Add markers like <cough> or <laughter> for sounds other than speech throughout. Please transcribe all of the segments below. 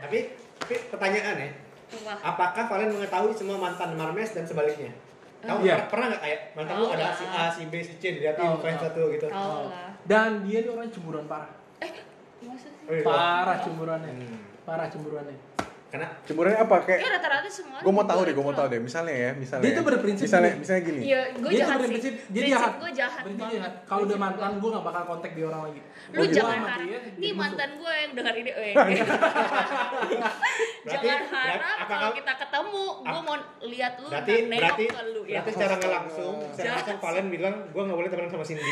Tapi, tapi pertanyaan ya, Wah. apakah kalian mengetahui semua mantan Marmes dan sebaliknya? Kamu Iya. pernah- pernah nggak kayak mantanmu Tahu ada lah. si A, si B, si C, dilihatin Tahu, fans tahu. satu gitu. Tahu lah. Dan dia nih orang cemburuan parah. Masa sih? Oh, iya. Parah cemburuannya. Hmm. Parah cemburuannya. Karena Cemburunya apa kayak Ya rata-rata semua. gue mau tahu deh, gue mau tahu deh. Misalnya ya, misalnya. Dia tuh berprinsip Misalnya, gini. misalnya gini. Iya, gue Dia jahat tuh sih. berprinsip- dia Prinsip jahat. Gue jahat Berarti banget. dia, kalau udah Prinsip mantan gua. gue gak bakal kontak dia orang lagi. Lu Gua jangan sama harap. dia, Nih jadi musuh. mantan gue yang denger ini. Eh. Berarti- jangan harap berarti- apakah- kalau kita ketemu, gue mau lihat lu berarti dan nengok berarti ke lu ya. berarti secara nggak langsung, secara Jahat. langsung kalian bilang gue nggak boleh temenan sama Cindy.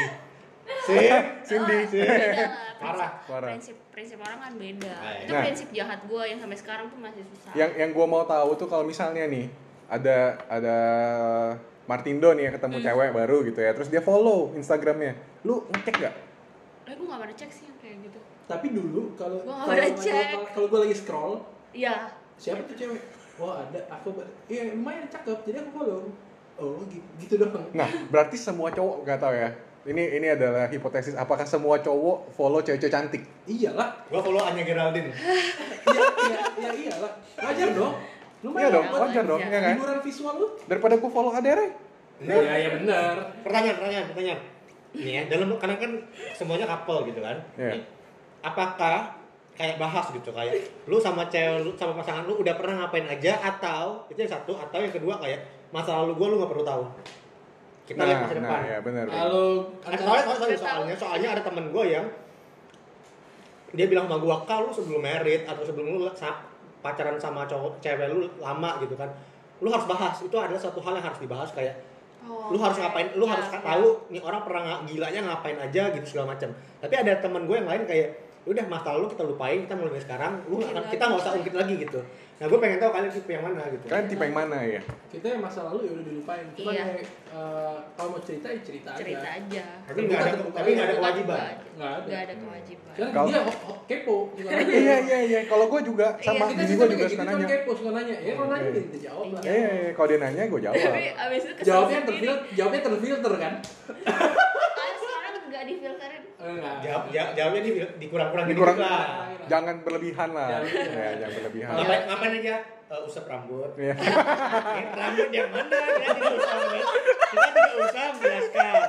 Sim, Cindy, Ah, Sim. beda lah. Parah. iya. Parah. prinsip prinsip orang kan beda Baik. itu Nah. prinsip jahat gue yang sampai sekarang pun masih susah Yang yang gue mau tahu tuh kalau misalnya nih ada ada Martindo nih yang ketemu cewek baru gitu ya, terus dia follow Instagramnya. Lu ngecek gak? eh gue gak pernah cek sih yang kayak gitu Tapi dulu kalau Gua kalau- udah kalau- cek. kalau gue lagi scroll, iya siapa tuh cewek? Wah ada, aku iya lumayan cakep, jadi aku follow. Oh gitu, gitu doang. Nah, berarti semua cowok nggak tahu ya. Ini ini adalah hipotesis apakah semua cowok follow cewek-cewek cantik? Iyalah, Gue follow Anya Geraldine. iya iya iya iyalah. Wajar dong. Iya Lumayan dong, buat wajar dong, ya kan? hiburan visual lu. Daripada ku follow Adere. Iya iya benar. Pertanyaan, pertanyaan, pertanyaan. Nih ya, dalam karena kan semuanya couple gitu kan. Iya. Nih, Apakah kayak bahas gitu kayak lu sama cewek lu sama pasangan lu udah pernah ngapain aja atau itu yang satu atau yang kedua kayak masa lalu gua lu nggak perlu tahu. Kita lihat Nah, masa depan. nah ya benar. benar. Kalau Ada soalnya, soalnya, soalnya, Udah tahu. soalnya, soalnya ada temen gue yang dia bilang sama gue kalau lu sebelum merit atau sebelum lu sa- pacaran sama cowok cewek lu lama gitu kan lu harus bahas itu adalah satu hal yang harus dibahas kayak Oh, lu harus oke. ngapain lu Iya, harus iya. tahu nih orang pernah nga- gilanya ngapain aja gitu segala macam tapi ada temen gue yang lain kayak "Ya udah masa lalu kita lupain kita mulai dari sekarang lu nggak akan- Gila. kita nggak usah ungkit lagi gitu nah gue pengen tahu kalian tipe yang mana gitu Kalian tipe yang mana ya? kita yang masa lalu ya udah dilupain. Cuman Iya. ya, eh, kalau mau cerita ya cerita, cerita aja. aja tapi nggak ada tapi nggak ada kewajiban Nggak ada. nggak ada kewajiban Karena Kalau- dia ho- ho- kepo. bukan nanya. Iya iya iya. Kalau gue juga Iya, sama Kita sih bini gue juga juga gitu suka kan nanya. kepo suka nanya. Ya kalau nanya Oke. dia jawab lah. Iya. Eh, kalau dia nanya gue jawab. tapi abis itu kesel Jawabnya sendiri. terfilter, jawabnya terfilter kan? Eh, Ah, sekarang nggak difilterin Enggak. jawab jawab- jawabnya di, dikurang-kurangin Dikurang- dikit lah Jangan berlebihan lah. Jangan berlebihan. Ya, jangan berlebihan. ngapain ngapain aja Eh, usap rambut Iya. Eh, rambut yang mana kita tidak usah men- kita tidak usah menjelaskan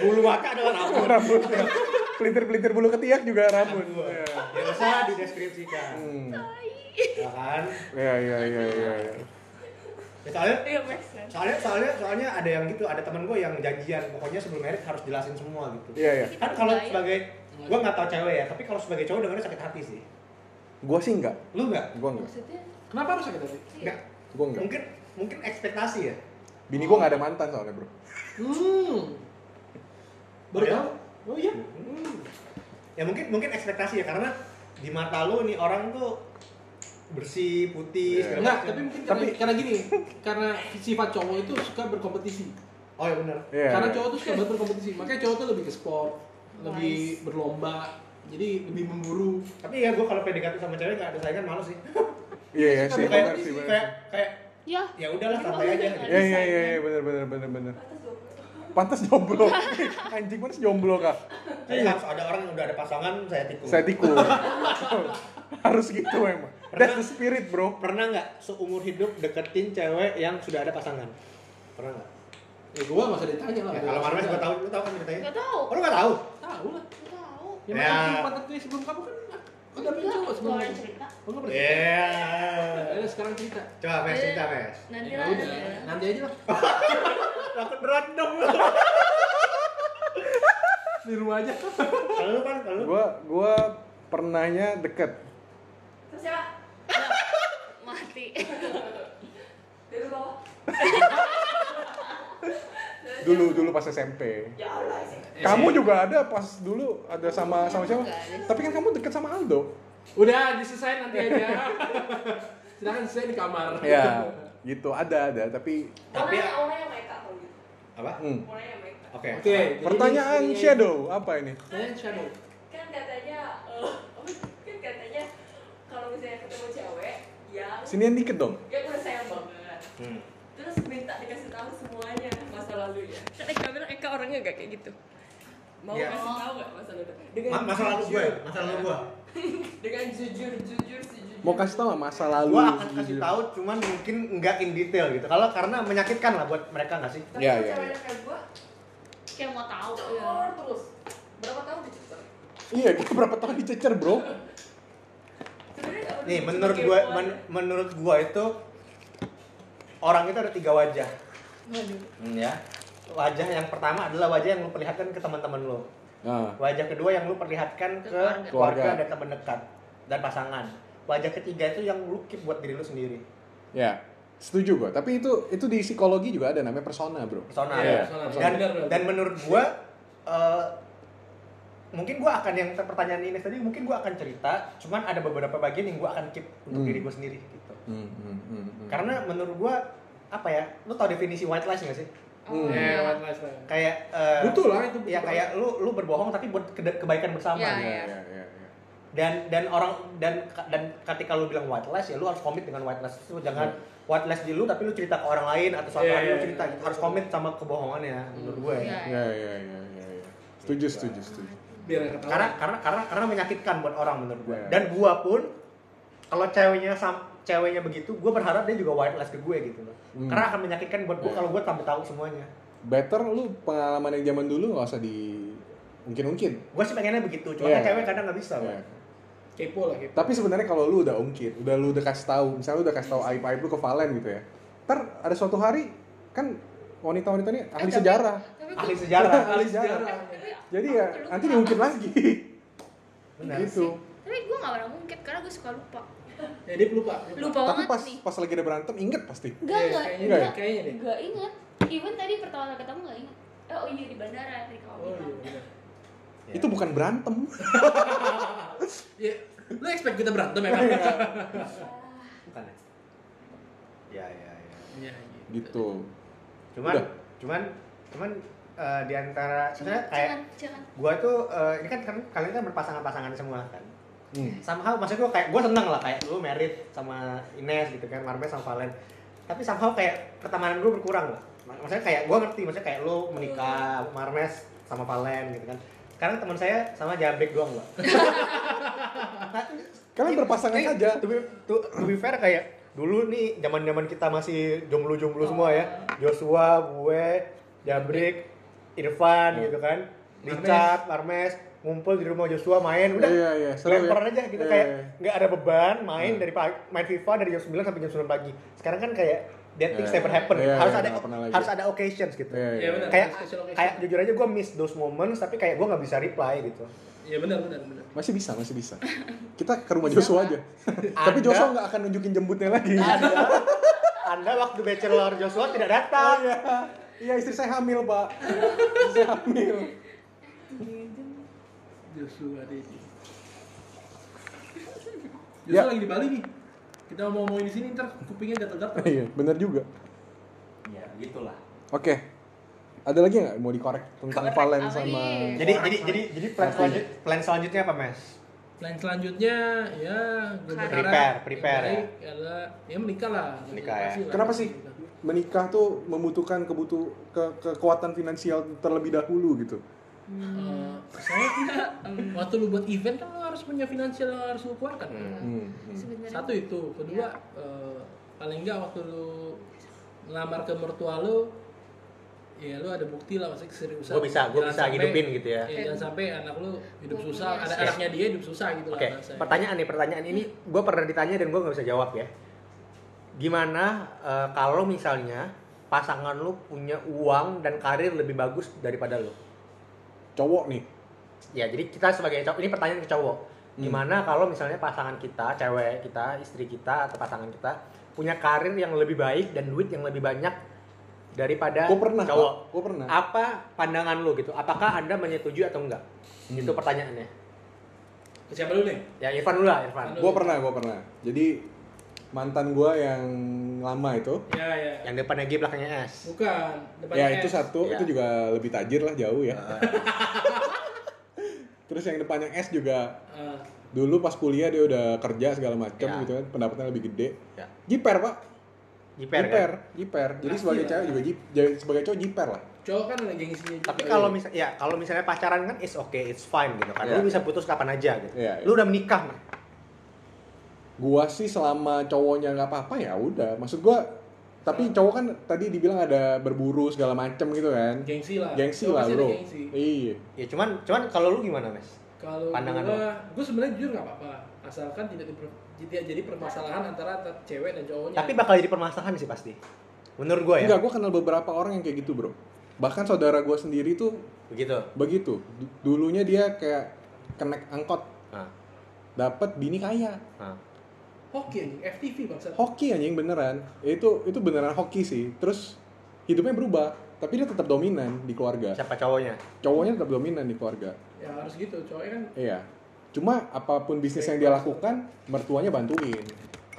bulu mata adalah rambut Rambut. Pelintir-pelintir bulu ketiak juga rambut. rambut Iya. tidak usah dideskripsikan Hmm. ya kan Iya iya iya iya. iya. Ya, soalnya iya make sense soalnya soalnya soalnya ada yang gitu ada temen gue yang janjian pokoknya sebelum merit harus jelasin semua gitu Iya iya. kan kalau sebagai gue nggak tau cewek ya tapi kalau sebagai cowok dengarnya sakit hati sih Gue sih enggak. lu nggak Gue enggak. maksudnya Kenapa harus sakit hati? iya. nggak Gue enggak. mungkin mungkin ekspektasi ya Bini gue nggak ada mantan soalnya bro. Hmm. Baru Iya. tahu? Oh iya. ya mungkin mungkin ekspektasi ya karena di mata lu nih orang tuh bersih putih Iya. segala Enggak, macam. tapi mungkin karena, Tapi- karena gini, karena sifat cowok itu suka berkompetisi. oh ya benar Iya. karena iya. cowok tuh suka banget berkompetisi. Makanya cowok tuh lebih ke sport, lebih Nice. berlomba, jadi lebih memburu. tapi ya gue kalau PDKT sama cewek nggak ada saingan malu sih Iya iya suka sih kayak benar sih benar. kayak kayak ya ya udahlah santai aja gitu. Iya iya iya iya, benar benar benar benar. Pantas jomblo. <laughs> Anjing pantas jomblo kah? Jadi harus ada orang yang udah ada pasangan saya tikung Iya. Saya <laughs> tikung. Harus gitu emang. That's the spirit bro. pernah nggak seumur hidup deketin cewek yang sudah ada pasangan pernah nggak Ya gua nggak usah ditanya lah. ya, kalau Marmes gue tahu lu tahu kan ceritanya nggak tahu oh lu nggak tahu Tahu lah. nggak tahu Ya, Ya. makanya pantat gue sebelum kamu kan udah punya cowok sebelum Nggak ada kamu. cerita. Oh, nggak pernah. Iya. Ayo sekarang cerita. coba mes Iya. cerita mes nanti Ya lah udah, nanti aja lah. takut random lu Di rumah aja. kalau lu kan kalau lu Gue gue pernahnya deket. Terus <laughs> siapa? <laughs> mati Dari bawah. Dulu dulu pas SMP. Ya Allah sih. Kamu juga ada pas dulu ada sama sama siapa? Tapi kan kamu deket sama Aldo. Udah, diselesain nanti aja. Silakan saya di kamar. Ya, <laughs> gitu ada ada tapi Tapi- Warnanya ya- orangnya mereka kalau gitu. apa hmm. Warnanya mereka. oke Oke. jadi Pertanyaan ini- shadow apa ini? Pertanyaan shadow. Kan katanya eh, <laughs> kan katanya kalau misalnya ketemu cewek yang Sinian dikit dong. yang udah sayang banget. Hmm. Terus minta dikasih tahu semuanya masa lalu ya. Kan Eka bilang Eka orangnya gak kayak gitu. Mau Iya. kasih tahu gak masa lalu? Ma- masa ya? lalu gue masa lalu gue dengan jujur jujur sih Mau kasih tau nggak masa lalu? Gua akan kasih tahu cuman mungkin nggak in detail gitu. Kalau karena menyakitkan lah buat mereka nggak sih? Tapi Iya, kalau iya, ceweknya kayak gue, kayak mau tahu ya. keluar terus. Berapa tahun dicecer? Iya, kita <laughs> berapa tahun dicecer bro? Sebenarnya nggak perlu Nih, dicecer menurut kepo gua aja. men- menurut gua itu orang itu ada tiga wajah. ya. Wajah yang pertama adalah wajah yang lu perlihatkan ke teman-teman lu. Nah, Wajah kedua yang lu perlihatkan ke Ke keluarga. keluarga, Keluarga. dan teman dekat dan pasangan. Wajah ketiga itu yang lu keep buat diri lu sendiri. ya setuju gua. Tapi itu itu di psikologi juga ada namanya persona bro. Persona. Iya, persona. Dan Benar, benar. dan menurut gua eh, mungkin gua akan yang pertanyaan ini tadi mungkin gua akan cerita, cuman ada beberapa bagian yang gua akan keep untuk Hmm. diri gua sendiri gitu. Hmm, hmm, hmm, hmm. Karena menurut gua apa ya? Lu tau definisi white lies gak sih? Oh, Hmm. iya. Eh, white lies lah. Kayak eh, Butuh lah itu. ya kayak lu lu berbohong tapi buat kede- kebaikan bersama. Iya. Ya, ya, ya, ya. dan dan orang dan dan ketika lu bilang white lies ya lu harus komit dengan white lies itu jangan white lies di lu tapi lu cerita ke orang lain atau suatu Iya, hari iya, lu cerita gitu. iya. harus komit sama kebohongannya menurut gue ya. Iya. Ya, ya, ya, ya, ya. Setuju, setuju, setuju. biar nggak ketahuan. karena karena karena karena menyakitkan buat orang menurut gue Iya. dan gue pun kalau ceweknya sam ceweknya begitu gue berharap dia juga white lies ke gue gitu loh Hmm. karena akan menyakitkan buat gue Iya. kalau gue tambah tahu semuanya Better lu pengalaman yang zaman dulu nggak usah di ungkit-ungkit. gue sih pengennya begitu cuma kan Iya. cewek kadang nggak bisa Ya. yeah. kepo lah kepo. Tapi sebenarnya kalau lu udah ungkit, udah lu udah kasih tahu, misalnya lu udah kasih tahu aib aib lu ke Valen gitu ya. Ntar ada suatu hari kan wanita-wanita ini ahli tapi- sejarah. Tapi ahli gua- <laughs> <laughs> sejarah Ahli sejarah. sejarah. tapi- Jadi ya lu nanti kenapa? diungkit lagi. Benar. gitu. Tapi gue gak pernah mungkin karena gue suka lupa. Ya dia pelupa. Lupa Tapi banget pas nih. pas lagi ada berantem inget pasti. Enggak, Iya, enggak, kayaknya enggak ya? enggak, Kayaknya deh. enggak ingat. Even tadi pertama kali ketemu enggak ingat. Eh, Oh iya di bandara tadi kamu Oh iya. bilang. benar. Iya. Itu bukan berantem. <laughs> Ya, lu expect kita berantem ya, emang? Iya. bukan ya? ya ya ya Iya. gitu. cuman Udah. cuman cuman eh, di antara sebenarnya kayak Jangan, jangan. gua tuh eh, ini kan, kan kalian kan berpasangan-pasangan semua kan Hmm. somehow maksud gua kayak gua seneng lah kayak lu merit sama Ines gitu kan Marbe sama Valen tapi somehow kayak pertemanan gua berkurang lah Mak- maksudnya kayak gua ngerti maksudnya kayak lu menikah Marmes sama Valen gitu kan karena teman saya sama Jabrek doang loh Kalian berpasangan Ini, Kan saja. Eh, to be, to- to be fair kayak dulu nih zaman zaman kita masih jomblo jomblo semua Iya. ya Joshua gue Jabrik Irfan Iya. gitu kan Richard Parmes ngumpul di rumah Joshua main udah Iya, iya, seru ya. lempar aja gitu Iya, kayak iya. nggak ada beban main Hmm. dari pagi- main FIFA dari jam 9 sampai jam 9 pagi sekarang kan kayak that things Iya. never happen Iya, harus iya, ada nggak pernah lagi. harus ada occasions gitu Iya, Iya benar. kayak Special occasion. kayak jujur aja gue miss those moments tapi kayak gue nggak bisa reply gitu Iya benar benar benar. Masih bisa, masih bisa. Kita ke rumah Joshua aja. Tapi Anda- Joshua nggak akan nunjukin jembutnya lagi. anda anda waktu bachelor Joshua tidak datang iya. Iya, istri saya hamil, Pak. Istri saya hamil. Joshua Dedi. Joshua Ya. lagi di Bali nih. Kita mau ngomongin di sini ntar kupingnya gatal-gatal. Iya, bener juga. iya. ya gitulah Oke. Ada lagi nggak mau dikorek tentang Korek Valen apa sama nih? jadi jadi jadi jadi plan selanjut plan selanjutnya apa mes Plan selanjutnya ya gue Karir. berharap Prepare, yang prepare ya. baik adalah ya menikah lah. Menikah ya. Pasti lah. Kenapa sih menikah tuh membutuhkan kebutuh ke- kekuatan finansial terlebih dahulu gitu? Eh, saya tidak. Waktu lu buat event kan lu harus punya finansial yang harus lu keluarkan. Hmm. hmm. Sebenarnya. Satu itu, Iya. kedua eh, paling enggak waktu lu ngelamar ke mertua lu ya lu ada bukti lah maksudnya keseriusan. Gua bisa, gua Jangan bisa sampai- hidupin gitu ya. Iya. iya, jangan sampai anak lu hidup Gua susah, punya ada sih. anaknya dia hidup susah gitu oke Iya, lah. rasanya. pertanyaan nih pertanyaan ini gue pernah ditanya dan gue nggak bisa jawab ya gimana eh, kalau misalnya pasangan lu punya uang dan karir lebih bagus daripada lu Cowok nih. ya jadi kita sebagai cowok ini pertanyaan ke cowok Hmm. gimana kalau misalnya pasangan kita cewek kita istri kita atau pasangan kita punya karir yang lebih baik dan duit yang lebih banyak daripada Gue pernah, Ya, cowok Pak. Gua pernah. apa pandangan lu gitu apakah anda menyetujui atau enggak Hmm. itu pertanyaannya Siapa lu nih? ya Irfan dulu lah Irfan Halo. Gue pernah, gue pernah. Jadi mantan gue yang lama itu, Ya ya. yang depannya G belakangnya S Bukan. depannya ya itu S. satu, Ya. itu juga lebih tajir lah jauh ya. Ah. <laughs> Terus yang depannya S juga Eh, dulu pas kuliah dia udah kerja segala macam Iya. Ya. gitu kan, pendapatnya lebih gede. Ya. Jiper pak, jiper jiper, kan? jiper. Jadi Pasti sebagai lah. cewek juga jip- jadi sebagai cowok jiper lah. cowok kan ada gengsinya juga. tapi kalau misalnya ya kalau misalnya pacaran kan it's okay it's fine gitu kan Iya. lu bisa putus kapan aja gitu Iya, iya. lu udah menikah mah gua sih selama cowoknya nggak apa-apa ya udah maksud gua Iya. tapi cowok kan tadi dibilang ada berburu segala macem gitu kan gengsi lah gengsi Cowok lah pasti ada bro gengsi. iya ya cuman cuman kalau lu gimana mes kalau Pandangan gua gua sebenarnya jujur nggak apa-apa asalkan tidak diper, tidak jadi permasalahan antara t- cewek dan cowoknya tapi bakal jadi permasalahan sih pasti menurut Oh, gua ya iya? enggak gua kenal beberapa orang yang kayak gitu bro bahkan saudara gua sendiri tuh begitu begitu Du- dulunya dia kayak kenek angkot nah, dapat bini kaya nah. hoki anjing FTV bangsa hoki anjing beneran itu itu beneran hoki sih terus hidupnya berubah tapi dia tetap dominan di keluarga siapa cowoknya cowoknya tetap dominan di keluarga ya harus gitu cowoknya kan iya cuma apapun bisnis yang dia lakukan mertuanya bantuin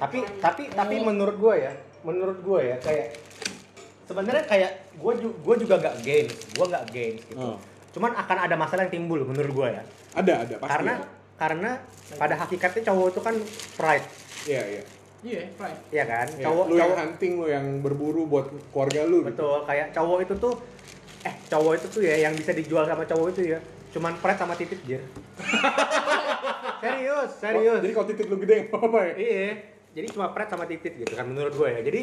tapi tapi tapi menurut gue ya menurut gue ya kayak sebenarnya kayak gue gue juga nggak games gue nggak games gitu Oh. cuman akan ada masalah yang timbul menurut gue ya ada ada pasti karena karena pada hakikatnya cowok itu kan pride iya iya iya pride ya kan Iya, cowok lu yang cowok hunting lu yang berburu buat keluarga lu gitu. betul kayak cowok itu tuh eh cowok itu tuh ya yang bisa dijual sama cowok itu ya cuman pride sama titik <laughs> jir serius serius Oh, Jadi kalau titik lu gede nggak apa-apa ya? Iya. Jadi cuma pret sama titit gitu kan menurut gue ya. Jadi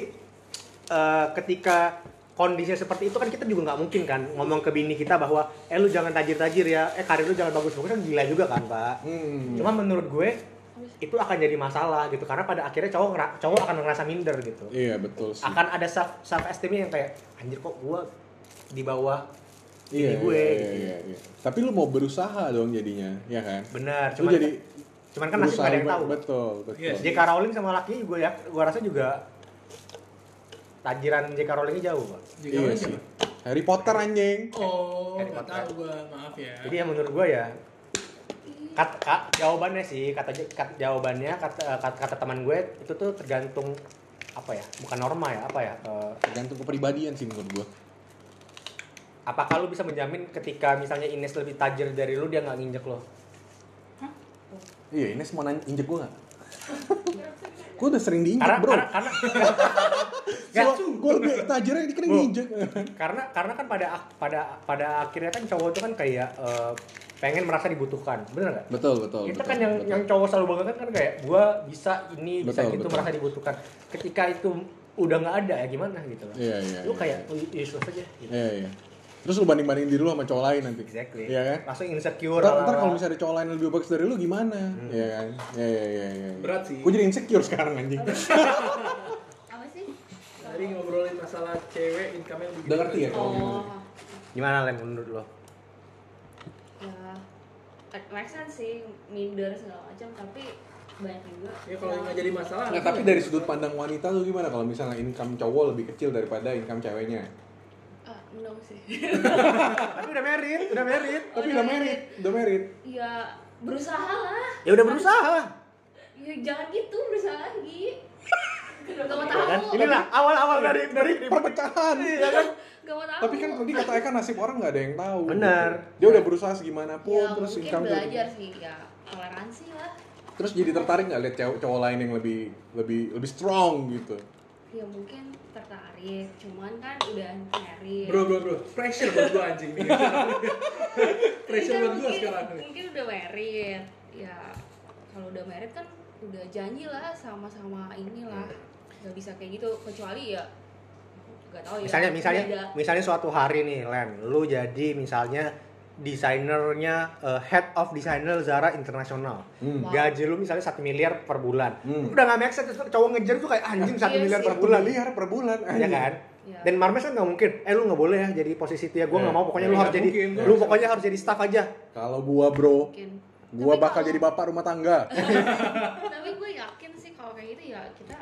eh, ketika kondisinya seperti itu kan kita juga nggak mungkin kan ngomong ke bini kita bahwa eh lu jangan tajir-tajir ya, eh karir lu jangan bagus-bagus kan gila juga kan pak. Hmm. Cuma menurut gue itu akan jadi masalah gitu karena pada akhirnya cowok ngera- cowok akan ngerasa minder gitu. Iya betul sih. Akan ada self self esteemnya yang kayak anjir kok gue di bawah iya, gue, iya, gitu. iya, iya. Tapi lu mau berusaha dong jadinya, ya kan? benar. Lu Cuman jadi cuman kan nasib berusaha gak ada yang buat- tahu. Iya, kan Betul, betul. Yes. J.K. Rowling sama lakinya juga ya, gue rasa juga tajiran J.K. Rowlingnya jauh pak. Jadi Iya orang sih. siapa? Harry Potter anjing. oh Harry nggak Potter. tahu gua maaf ya Jadi ya menurut gue ya kat, kat- jawabannya sih kata, kat- jawabannya kata, kata kata teman gue itu tuh tergantung apa ya bukan norma ya apa ya eh, Tergantung kepribadian sih menurut gua. apakah lu bisa menjamin ketika misalnya Ines lebih tajir dari lu dia nggak nginjek lo Iya, ini mau nanya injek gua enggak? <laughs> gua udah sering diinjek, karena Iya, Bro. karena karena Gua, gua lebih tajirnya dikira Bro. diinjek. <laughs> karena karena kan pada ak- pada pada akhirnya kan cowok itu kan kayak eh, pengen merasa dibutuhkan bener nggak betul, betul. kita betul, kan yang betul. yang cowok selalu banggakan kan kayak gua bisa ini bisa Betul, gitu betul. merasa dibutuhkan ketika itu udah nggak ada ya gimana gitu loh Iya, iya, lu iya, kayak "Oh, useless aja gitu. Iya, iya. Terus lu banding-bandingin diri lu sama cowok lain nanti. exactly Iya kan? langsung insecure Ntar, ala-ala. ntar kalau misalnya ada cowok lain yang lebih bagus dari lu gimana? Hmm. Iya kan? Iya, iya, iya, iya. Berat sih. Gua jadi insecure sekarang anjing. Apa sih? tadi ngobrolin masalah cewek income yang Udah ngerti ya? Oh, gimana Len menurut lo ya make sense sih minder segala macam tapi banyak juga ya kalau nggak jadi masalah Nah, tapi dari sudut pandang wanita lu gimana kalau misalnya income cowok lebih kecil daripada income ceweknya? Ah, no sih <laughs> tapi udah merit udah merit Tapi Oh, udah merit, udah merit. ya berusaha lah ya udah berusaha ya, jangan gitu berusaha lagi gak Iya mau ya tahu kan inilah awal awal dari dari Perpecahan. Iya, gak mau tahu Ya, Tapi kan tadi kata Eka nasib orang nggak ada yang tahu. Benar. Gitu. Dia udah berusaha segimana pun ya terus mungkin income gitu. belajar sih ya toleransi lah Terus jadi tertarik nggak lihat cowok, cowok lain yang lebih lebih lebih strong gitu. ya mungkin tertarik cuman kan udah married bro bro bro pressure buat gua <laughs> anjing nih Tapi pressure kan buat gua mungkin- sekarang nih mungkin udah married ya kalau udah married kan udah janji lah sama-sama inilah Hmm. nggak bisa kayak gitu kecuali ya nggak tahu ya misalnya misalnya beda. misalnya suatu hari nih Len lu jadi misalnya desainernya eh, head of designer Zara internasional Hmm. Wow. gaji lu misalnya satu miliar per bulan Hmm. udah nggak make sense terus cowok ngejar tuh kayak anjing satu Iya miliar sih. per Per bulan bulan liar per bulan. ya kan Iya. dan Marmes kan nggak mungkin eh lu nggak boleh ya jadi posisi itu ya gue Iya. nggak mau pokoknya Iya, lu harus nggak jadi mungkin. lu pokoknya harus jadi staff aja Kalau gua bro, mungkin gua Tapi bakal kalau- jadi bapak rumah tangga. <laughs> tapi gue yakin sih kalau kayak gitu ya kita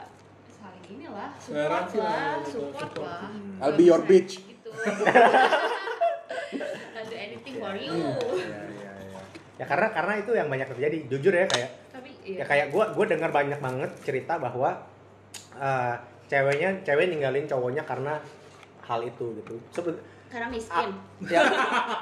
saling inilah support Toleransi lah, lah betul, support support. Hmm. lah I'll be your Kalau bitch. misalnya gitu <laughs> I'll do anything for you Iya, Hmm. ya karena karena itu yang banyak terjadi jujur ya kayak tapi ya kayak gue gue dengar banyak banget cerita bahwa eh, ceweknya cewek ninggalin cowoknya karena hal itu gitu Sebe- karena Ah, miskin ya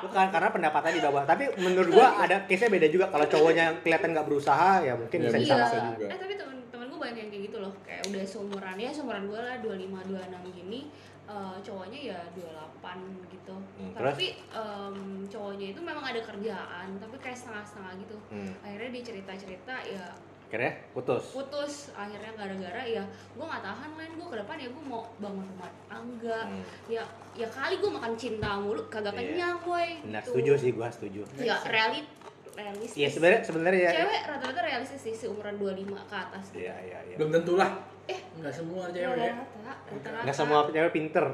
bukan karena pendapatannya di bawah tapi menurut gua ada case nya beda juga kalau cowoknya yang kelihatan nggak berusaha ya mungkin Iya, bisa bisa disalahkan juga. Eh tapi temen-temen gue banyak yang kayak gitu loh Kayak udah seumuran ya, seumuran gue lah 25, 26 gini eh, Cowoknya ya 28 gitu Hmm, terus? Tapi em, cowoknya itu memang ada kerjaan Tapi kayak setengah-setengah gitu Hmm. Akhirnya dia cerita-cerita ya akhirnya putus putus akhirnya gara-gara ya gue nggak tahan lain gue ke depan ya gue mau bangun rumah tangga Hmm. ya ya kali gue makan cinta mulu kagak Iya. kenyang boy benar gitu. setuju sih gua setuju ya realit realistis iya sebenarnya sebenarnya ya cewek rata-rata realistis sih seumuran 25 ke atas gitu. iya iya iya belum tentulah Eh. Iya. nggak semua cewek ya rata-rata rata-rata nggak semua cewek pinter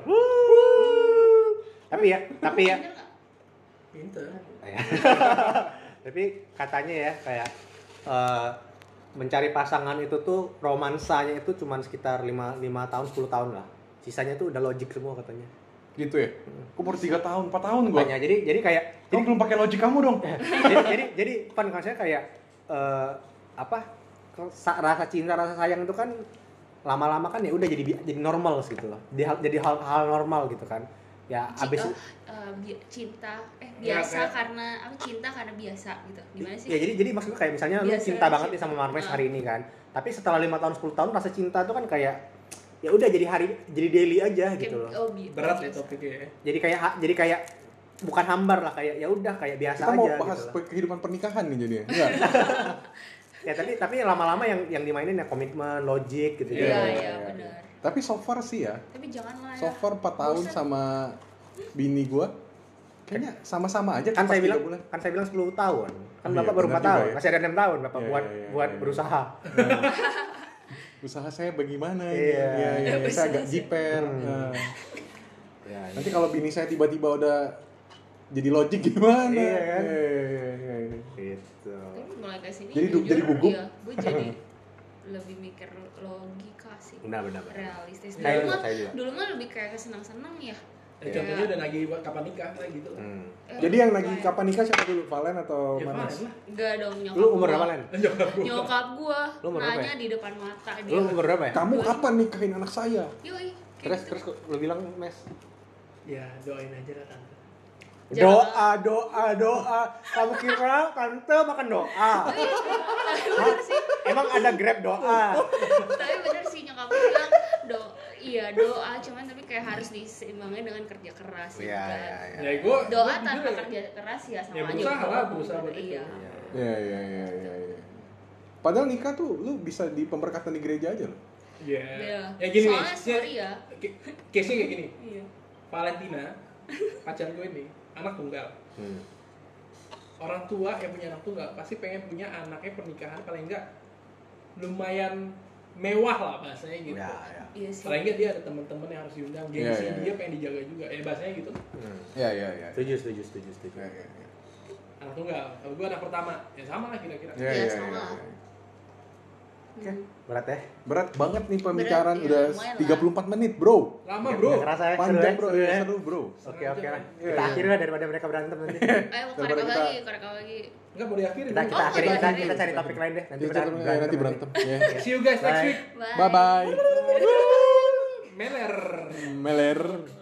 tapi ya tapi ya Bener nggak? pinter Ya. <laughs> Tapi katanya ya kayak eh, mencari pasangan itu tuh romansanya itu cuman sekitar 5 lima tahun 10 tahun lah. Sisanya tuh udah logik semua katanya. Gitu ya? Gue baru 3 tahun, 4 tahun gue Banyak. Jadi jadi kayak Kamu jadi <laughs> belum pakai logik kamu dong jadi jadi, jadi pan konsepnya kayak eh, apa? ke- sa- rasa cinta rasa sayang itu kan lama-lama kan ya udah jadi bi- jadi normal gitu loh. Jadi hal, jadi hal, hal normal gitu kan. Ya Ci- abis oh, eh, bi- cinta eh Iya, biasa kayak- karena apa cinta karena biasa gitu gimana sih Iya, Ya jadi jadi maksudnya kayak misalnya lu Biasa cinta aja. banget nih sama Marmes Ah. hari ini kan. Tapi setelah lima tahun 10 tahun rasa cinta tuh kan kayak ya udah jadi hari jadi daily aja Kayak- gitu loh. oh, bi- berat ya biasa. topiknya ya Jadi kayak ha- jadi kayak bukan hambar lah kayak ya udah kayak biasa Kita mau aja bahas gitu. loh. kehidupan pernikahan nih jadinya Enggak Ya tapi tapi lama-lama yang yang dimainin ya komitmen, logik gitu iya gitu. iya iya, iya. benar Tapi so far sih ya tapi jangan lah So ya far 4 tahun Bosan. sama bini gue Kayaknya sama-sama aja Kan pas saya tiga bilang bulan. kan saya bilang 10 tahun. Kan Oh iya, Bapak baru benar 4 tahun, juga ya. masih ada 6 tahun Bapak Iya, buat iya, iya, buat iya. berusaha. usaha saya bagaimana Iya. ya, ya, ya. Usaha saya agak saya. jiper Hmm. Nah, Ya, nanti kalau bini saya tiba-tiba udah jadi logik gimana Iya, kan? Iya, iya, iya, iya. gitu. tapi mulai dari sini Jadi du- jadi gugup. iya, gue jadi <laughs> lebih mikir logika sih Benar benar. benar. realistis Saya dulu juga, mah saya juga. dulu mah lebih kayak senang-senang ya Dan Iya. contohnya udah nagih buat kapan nikah kayak gitu Hmm. Eh, jadi yang lagi kayak- kapan nikah siapa dulu Valen atau ya Manas? Manas <laughs> lah Enggak dong nyokap Lu umur gua. berapa, Len? Nyokap gua Lu umur berapa nanya ya? di depan mata dia. Lu umur berapa ya? kamu kapan nikahin anak saya Yoi. kayak Terus gitu. terus lu bilang Mes ya doain aja lah tante Jangan. Doa, doa, doa. Kamu kira tante makan doa? Hah? Emang ada grab doa? Tapi bener sih nyokap gua bilang do iya doa cuman tapi kayak harus diseimbangin dengan kerja keras juga. Iya, ya gue Doa tanpa kerja keras ya sama Ya, aja. berusaha lah, bohong. berusaha buat itu. Iya. ya ya ya ya, ya. padahal nikah tuh lu bisa di pemberkatan di gereja aja loh ya Iya. ya gini nih Soalnya sorry ya. Ki- case-nya kayak gini Iya. Valentina pacar gue ini anak tunggal orang tua yang punya anak tunggal pasti pengen punya anaknya pernikahan paling enggak lumayan mewah lah bahasanya gitu Ya, ya. Iya sih. paling enggak dia ada teman-teman yang harus diundang Iya, gengsi iya, dia iya. pengen dijaga juga ya bahasanya gitu Hmm. ya ya ya Setuju, setuju, setuju, setuju. ya ya ya. anak tunggal kalau gue anak pertama ya sama lah kira-kira Ya, Iya, ya, sama. ya, ya. Hmm. Berat ya? berat banget nih pembicaraan Berat, ya, udah lumayan lah. 34 menit bro lama Nggak- bro nggak kerasa ya? Seru panjang ya? bro Seru ya, ya? seru bro Oke, oke lah. Iya, Kita iya. akhiri lah daripada mereka berantem nanti. Ayo korek Daripada lagi, kita- korek lagi. nggak mau diakhiri Kita kita Oh, akhiri kita, iya. kita cari topik lain deh. Nanti nanti berantem, ya, nanti berantem. Ya. see you guys next Bye. week bye bye meler meler